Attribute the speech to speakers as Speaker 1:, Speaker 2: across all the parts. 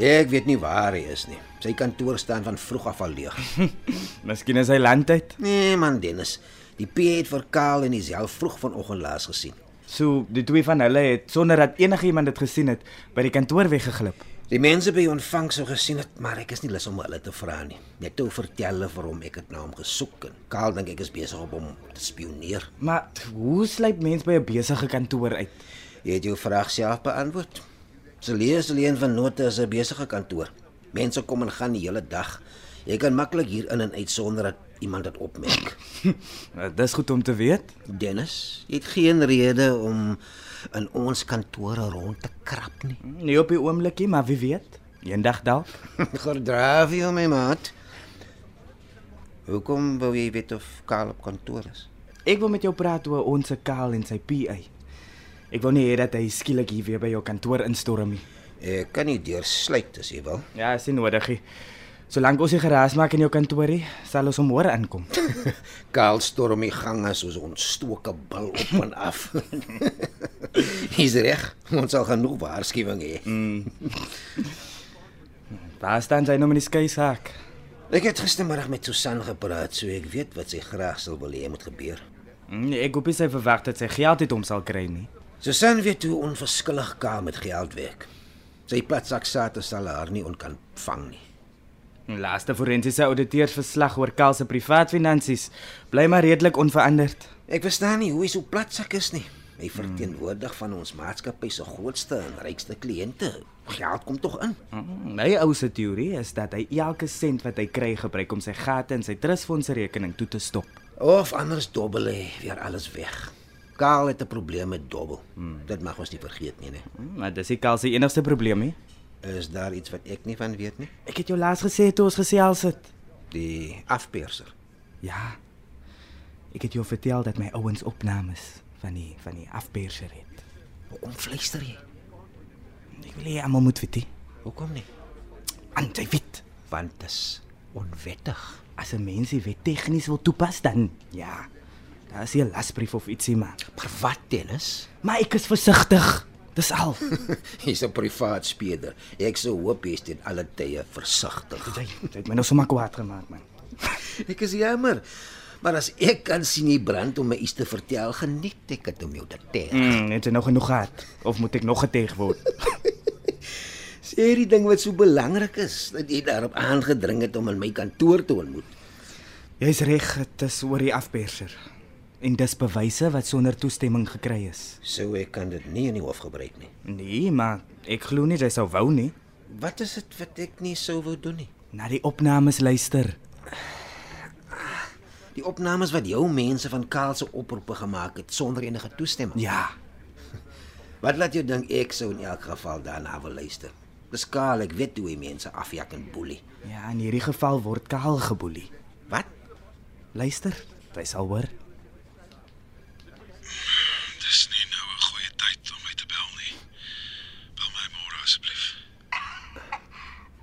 Speaker 1: Ek weet nie waar hy is nie. Sy kantoor staan van vroeg af al leeg.
Speaker 2: Miskien is hy landtyd.
Speaker 1: Nee man Dennis, die PA het vir Karl en Isel vroeg vanoggend laas gesien.
Speaker 2: So die twee van hulle het sonder dat enigiemand dit gesien het by die kantoor weggeglip.
Speaker 1: Die mense by die ontvangs sou gesien het, maar ek is nie lus om hulle te vra nie. Net toe vertel hulle vir hom ek het na hom gesoek en Karl dink ek is besig om hom te spioneer.
Speaker 2: Maar hoe sluip mens by 'n besige kantoor uit?
Speaker 1: Jy het jou vraag self beantwoord. Se lees alleen van note is 'n besige kantoor. Mense kom en gaan die hele dag. Jy kan maklik hier in en uit sonder dat iemand dit opmerk.
Speaker 2: Nou, Dis goed om te weet.
Speaker 1: Dennis, jy het geen rede om in ons kantore rond te krap nie.
Speaker 2: Nie op die oomblikie, maar wie weet? Eendag dalk.
Speaker 1: Gerdraaf jy my maat. Hoekom wou jy weet of Karl op kantoor is?
Speaker 2: Ek wil met jou praat oor ons Kaal en sy PA. Ek wil nie hê dat hy skielik hier weer by jou kantoor instorm nie.
Speaker 1: Ek kan nie deursluit as jy wil.
Speaker 2: Ja, is nie nodig nie. Solank ons nie geraas maak in jou kantoorie, sal ons hom hoor aankom.
Speaker 1: Karl storm die gange soos 'n ontstoke bil op en af. Hy's reg. Ons sal genoeg waarskuwing hê.
Speaker 2: Daar staan sy nou met die skei saak.
Speaker 1: Ek het gistermiddag met Susan gepraat, so ek weet wat sy graag sou wil hê moet gebeur.
Speaker 2: Nee, ek hoop nie sy verwag dat sy geld uit hom sal kry nie.
Speaker 1: Susan weet hoe onverskillig Karl met geld werk. Sy platsak sate sal haar nie onkan vang nie.
Speaker 2: Die laaste forensiese ouditeursverslag oor Kal se privaatfinansies bly maar redelik onveranderd.
Speaker 1: Ek verstaan nie hoe hy so platsak is nie. Hy verteenwoordig van ons maatskappy se grootste en rykste kliënte. Geld kom tog in.
Speaker 2: Mm, My ou se teorie is dat hy elke sent wat hy kry gebruik om sy gate in sy trustfondse rekening toe te stop.
Speaker 1: Of anders dobbel hy weer alles weg. Karl het 'n probleem met dobbel. Hmm. Dit mag ons nie vergeet nie, né?
Speaker 2: Mm, Maar dis nie Kal se enigste probleem nie.
Speaker 1: Is daar iets wat ek nie van weet nie?
Speaker 2: Ek het jou laas gesê toe ons gesels het.
Speaker 1: Die afperser.
Speaker 2: Ja. Ek het jou vertel dat my ouens opnames van die van die afperser het.
Speaker 1: Hoekom fluister jy?
Speaker 2: Ek wil hê almal moet weet. nie.
Speaker 1: Hoekom nie?
Speaker 2: Want jy weet,
Speaker 1: Want dit is onwettig.
Speaker 2: as 'n mens die wet tegnies wil toepas dan ja, daar is 'n lasbrief of ietsie maar.
Speaker 1: Maar wat tennis?
Speaker 2: Maar ek is versigtig. Dis al.
Speaker 1: Hy's 'n privaat speler. Ek sou hoop hy's teen alle tye versigtig.
Speaker 2: Jy jy het my nou sommer kwaad gemaak man.
Speaker 1: Ek is jammer. Maar as ek kan sien die brand om my iets te vertel, geniet ek dit om jou te ter. Mm.
Speaker 2: Mm, het jy nog genoeg gehad of moet ek nog geteg word?
Speaker 1: Sê die ding wat so belangrik is, dat jy daarop aangedring het om in my kantoor te ontmoet.
Speaker 2: Jy's reg, dit is oor die afperser. En dis bewyse wat sonder toestemming gekry is.
Speaker 1: So ek kan dit nie in die hof gebruik nie.
Speaker 2: Nee, maar ek glo nie jy sou wou nie.
Speaker 1: Wat is dit wat ek nie sou wou doen nie?
Speaker 2: Na die opnames luister.
Speaker 1: Die opnames wat jou mense van Kaal se oproepe gemaak het sonder enige toestemming.
Speaker 2: Ja,
Speaker 1: Wat laat jou dink ek sou in elk geval daarna wil luister? Dis Kaal, ek weet hoe hy mense afjak en boelie.
Speaker 2: ja, in hierdie geval word Kaal geboelie.
Speaker 1: Wat?
Speaker 2: Luister, jy sal hoor.
Speaker 3: Dis nie nou 'n goeie tyd om my te bel nie. Bel my môre asseblief.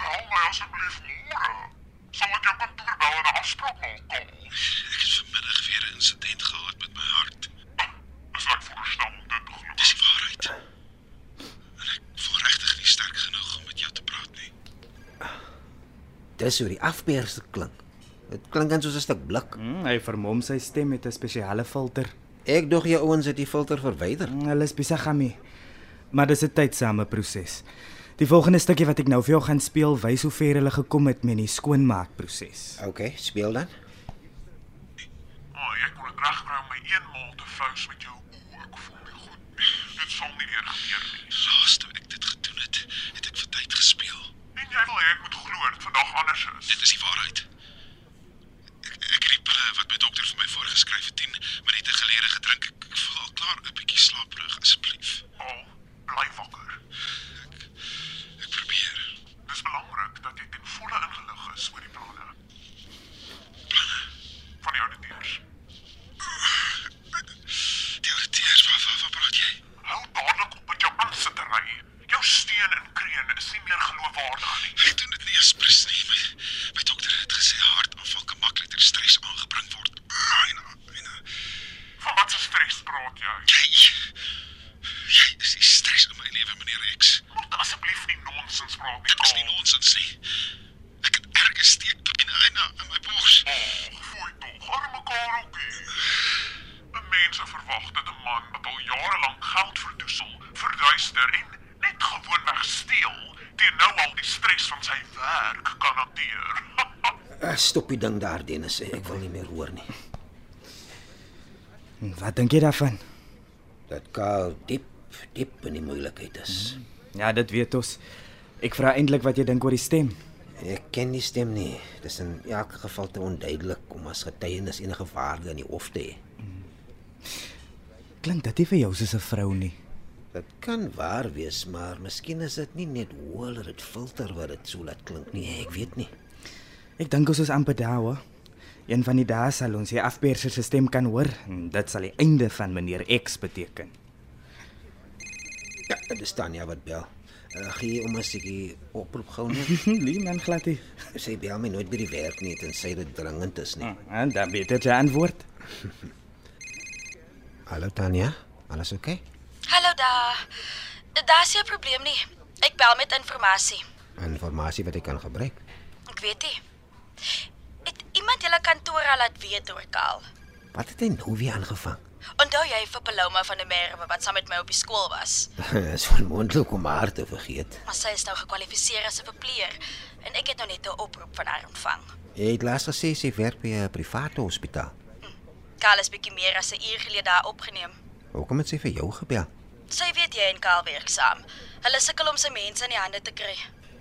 Speaker 4: Bel my asseblief môre. Sal ek jou kantoor bel en 'n afspraak maak? kom?
Speaker 3: Ek het vanmiddag weer 'n insident gehad met my hart.
Speaker 4: Is ek voorstel om dit te glo?
Speaker 3: Dis die waarheid. En ek voel regtig nie sterk genoeg om met jou te praat nie.
Speaker 1: Dis hoe die afperse klink. Dit klink dan soos 'n stuk blik.
Speaker 2: Mm, hy vermom sy stem met 'n spesiale filter.
Speaker 1: Ek dog jy ouens het die filter verwyder.
Speaker 2: Mm, Hulle is besig daarmee. Maar dis 'n tydsame proses. Die volgende stukkie wat ek nou vir jou gaan speel, wys hoe ver hulle gekom het met die skoonmaakproses.
Speaker 1: OK, speel dan.
Speaker 4: O, oh, ek wil regkry om my eenmaal te flous met jou. O, ek voel nie goed nie. Dit sal nie weer gebeur nie.
Speaker 3: Laas toe ek dit gedoen het, het ek vir tyd gespeel.
Speaker 4: En jy wil hê ek moet glo dat vandag anders is.
Speaker 3: Dit is die waarheid. Ek, ek het die pille wat my dokter vir my voorgeskryf het 10 minute gelede gedrink. Ek, ek voel al klaar 'n bietjie slaaprig asseblief.
Speaker 4: O, oh, bly wakker.
Speaker 3: Ek probeer.
Speaker 4: Dis belangrik dat jy ten volle ingelig is oor die planne.
Speaker 3: nonsens nie. Ek het erge steekpyn in in my bors.
Speaker 4: Fooi tog, arme Kareltjie. 'n Mense verwag dat 'n man wat al jare lank geld verdoesel, verduister en net gewoonweg steel, teen nou al die stres van sy werk kan hanteer.
Speaker 1: Ah, Stop die ding daar, Dennis. Ek wil nie meer hoor nie.
Speaker 2: En Wat dink jy daarvan?
Speaker 1: Dat Karl diep, diep in die moeilikheid is.
Speaker 2: Ja, dit weet ons. Ek vra eintlik wat jy dink oor die stem.
Speaker 1: Ek ken die stem nie. Dit is in elk geval te onduidelik om as getuienis enige waarde in die hof te hê.
Speaker 2: Klink dit nie vir jou soos 'n vrou nie.
Speaker 1: Dit kan waar wees, maar miskien is dit nie net hoe hulle dit filter wat dit so laat klink nie. Ek weet nie.
Speaker 2: Ek dink ons is amper daar hoor. Een van die dae sal ons die afperser se stem kan hoor en dit sal die einde van meneer X beteken.
Speaker 1: Ja, dit staan ja wat bel. Uh, gee om 'n stukkie oproep gou net.
Speaker 2: Nee man, glad nie.
Speaker 1: Sy bel my nooit by die werk nie tensy dit dringend is nie.
Speaker 2: Hm, En dan weet dit jy antwoord.
Speaker 1: Hallo Tanya, alles oukei? Okay?
Speaker 5: Hallo daar. Daar's nie 'n probleem nie. Ek bel met inligting.
Speaker 1: Informasie wat ek kan gebruik.
Speaker 5: Ek weet nie. Het iemand julle kantoor al laat weet oor Karl?
Speaker 1: Wat het hy nou weer aangevang?
Speaker 5: Onthou jy vir Paloma van der Merwe wat saam met my op die skool was?
Speaker 1: Dis onmoontlik om haar te vergeet.
Speaker 5: Maar sy is nou gekwalifiseer as 'n verpleër en ek het nou net 'n oproep van haar ontvang.
Speaker 1: Jy het laas gesê sy werk by 'n private hospitaal.
Speaker 5: Karl is bietjie meer as 'n uur gelede daar opgeneem.
Speaker 1: Hoekom het sy vir jou gebel?
Speaker 5: Sy weet jy en Karl werk saam. Hulle sukkel om sy mense in die hande te kry.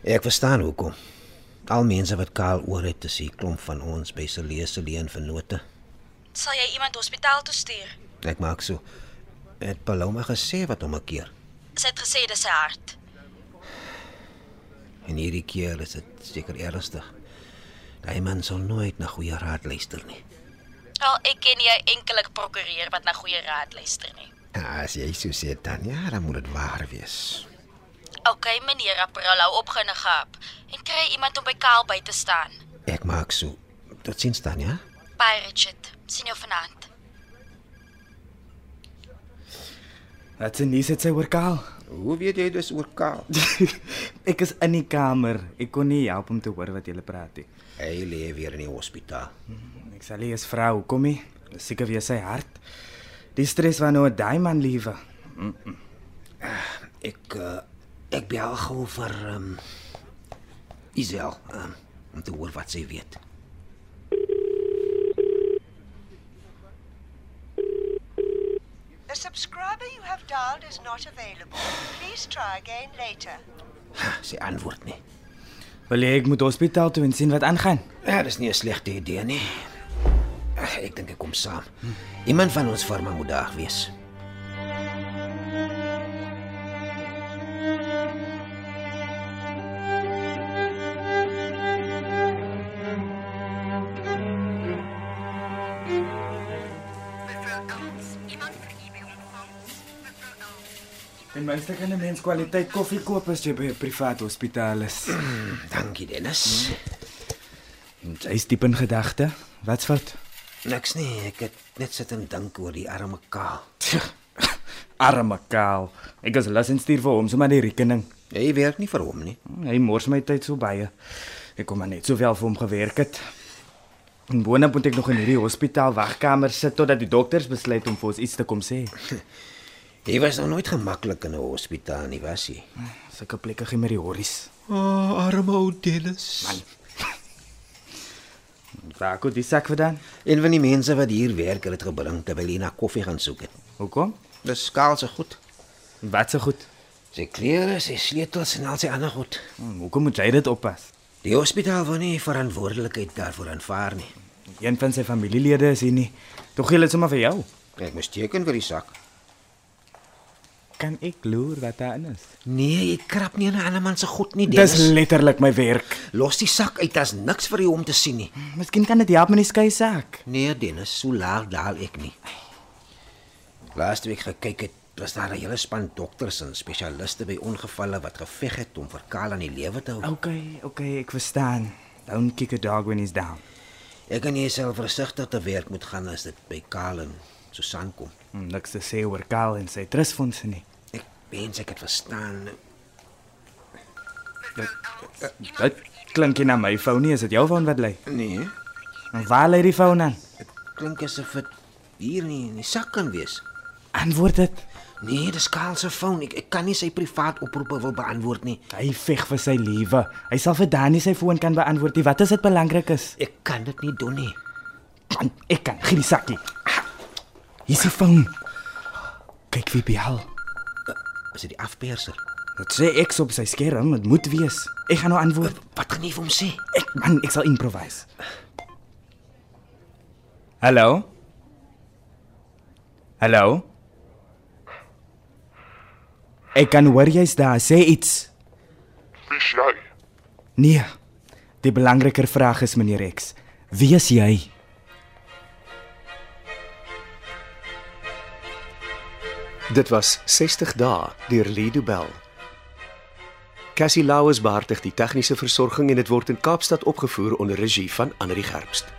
Speaker 1: Ek verstaan hoekom. Al mense wat kaal oor het te sien klomp van ons by se lese leen vennote.
Speaker 5: Sal jy iemand hospitaal toe stuur?
Speaker 1: Ek maak so. Het Paloma gesê wat hom 'n keer.
Speaker 5: Sy het gesê dis sy hart.
Speaker 1: En hierdie keer is dit seker ernstig. Daai man sal nooit na goeie raad luister nie.
Speaker 5: Al ek ken jy enkelik prokureur wat na goeie raad luister nie.
Speaker 1: Ja, as jy so sê Tanya, dan moet dit waar wees.
Speaker 5: OK, meneer April hou opgenig op en kry iemand om by Kaal by te staan.
Speaker 1: Ek maak so. Tot sins Tanya.
Speaker 5: Bye Richard. Sien jou vanaand.
Speaker 2: Wat s'n nuus het sy oor Kaal?
Speaker 1: Hoe weet jy dis oor kaal?
Speaker 2: ek is in die kamer. Ek kon nie help om te hoor wat jy praat nie.
Speaker 1: Hy lê weer in die hospitaal.
Speaker 2: Ek sal nie eens vra hoekom nie. Dis Seker weer sy hart. Die stres van nou 'n diamond lewe.
Speaker 1: Ek uh, ek bel gou vir ehm um, Isel um, om te hoor wat sy weet.
Speaker 6: The subscriber you have dialed is not available. Please try again later.
Speaker 1: Ha, sy antwoord nie.
Speaker 2: Wil jy ek moet hospitaal toe en sien wat aangaan?
Speaker 1: Ja, dis nie 'n slegte idee nie. Ag, Ek dink ek kom saam. Iemand van ons firma moet daar wees.
Speaker 2: Ten minste kan 'n mens kwaliteit koffie koop as jy by 'n privaat hospitaal is.
Speaker 1: Dankie Dennis.
Speaker 2: Jy's diep in gedagte. Wat's fout?
Speaker 1: Niks nie, ek het net sit en dink oor die arme Kaal.
Speaker 2: Arme Kaal. Ek is lus en stuur vir hom sommer die rekening.
Speaker 1: Hy werk nie vir hom nie.
Speaker 2: Hy mors my tyd so baie. Ek kom maar net sowel vir hom gewerk het. En boonop moet ek nog in hierdie hospitaal wagkamer sit totdat die dokters besluit om vir ons iets te kom sê.
Speaker 1: Hy was nog nooit gemaklik in 'n hospitaal nie, was hy?
Speaker 2: Sulke plekke gee my die horries.
Speaker 1: O, oh, arme ou Dennis. Man.
Speaker 2: Waar kom die sak vandaan?
Speaker 1: Een van die mense wat hier werk, het dit gebring terwyl hy na koffie gaan soek het.
Speaker 2: Hoekom?
Speaker 1: Dis Kaal se goed.
Speaker 2: Wat se goed.
Speaker 1: Sy klere, sy sleutels en al sy ander goed.
Speaker 2: Hm, Hoekom moet jy dit oppas?
Speaker 1: Die hospitaal wil nie verantwoordelikheid daarvoor aanvaar nie.
Speaker 2: Een van sy familielede is hier nie. Tog gee dit sommer vir jou.
Speaker 1: Ek moes teken vir die sak.
Speaker 2: Kan ek loer wat daarin is?
Speaker 1: Nee, jy krap nie in 'n ander man se goed nie,
Speaker 2: Dis
Speaker 1: Dennis.
Speaker 2: letterlik my werk.
Speaker 1: Los die sak uit, daar's niks vir jou om te sien nie.
Speaker 2: Miskien kan dit help met die skei saak.
Speaker 1: Nee, Dennis, so laag daal ek nie. Laas week gekyk het, was daar 'n hele span dokters en spesialiste by ongevalle wat geveg het om vir Karl aan die lewe te hou.
Speaker 2: OK, OK, ek verstaan. Don't kick a dog when he's down.
Speaker 1: Ek kan jouself versigtig te werk moet gaan as dit by Karl en Susan kom.
Speaker 2: Hm, Niks te sê oor Karl en sy trustfondse nie.
Speaker 1: Ek wens ek het verstaan.
Speaker 2: Dit klink nie na my foon nie, is dit jou foon wat lê?
Speaker 1: Nee,
Speaker 2: En waar lê die foon dan?
Speaker 1: dit klink asof dit hier nie in die sak kan wees.
Speaker 2: Antwoord dit.
Speaker 1: Nee, dis Karl se foon. Ek ek kan nie sy privaat oproepe wil beantwoord nie.
Speaker 2: Hy veg vir sy lewe. Hy sal vir Dani sy foon kan beantwoord. nie. Wat as dit belangrik is?
Speaker 1: Ek kan dit nie doen nie.
Speaker 2: Man, ek kan gee die sakkie. Hier is die foon. Kyk wie bel.
Speaker 1: Is dit die afperser?
Speaker 2: Dit sê ek op sy skerm, dit moet wees. Ek gaan nou antwoord.
Speaker 1: Wat kan jy vir hom sê?
Speaker 2: Ek man, ek sal improvise. Hallo? Hallo? Ek kan hoor jy's daar. Sê iets.
Speaker 4: Wie's jy?
Speaker 2: Nee. Die belangriker vraag is meneer X. Wie is jy?
Speaker 7: Dit was 60 dae deur Lido Bell. Cassie Lauers beheer die tegniese versorging en dit word in Kaapstad opgevoer onder regie van Anri Gerbst.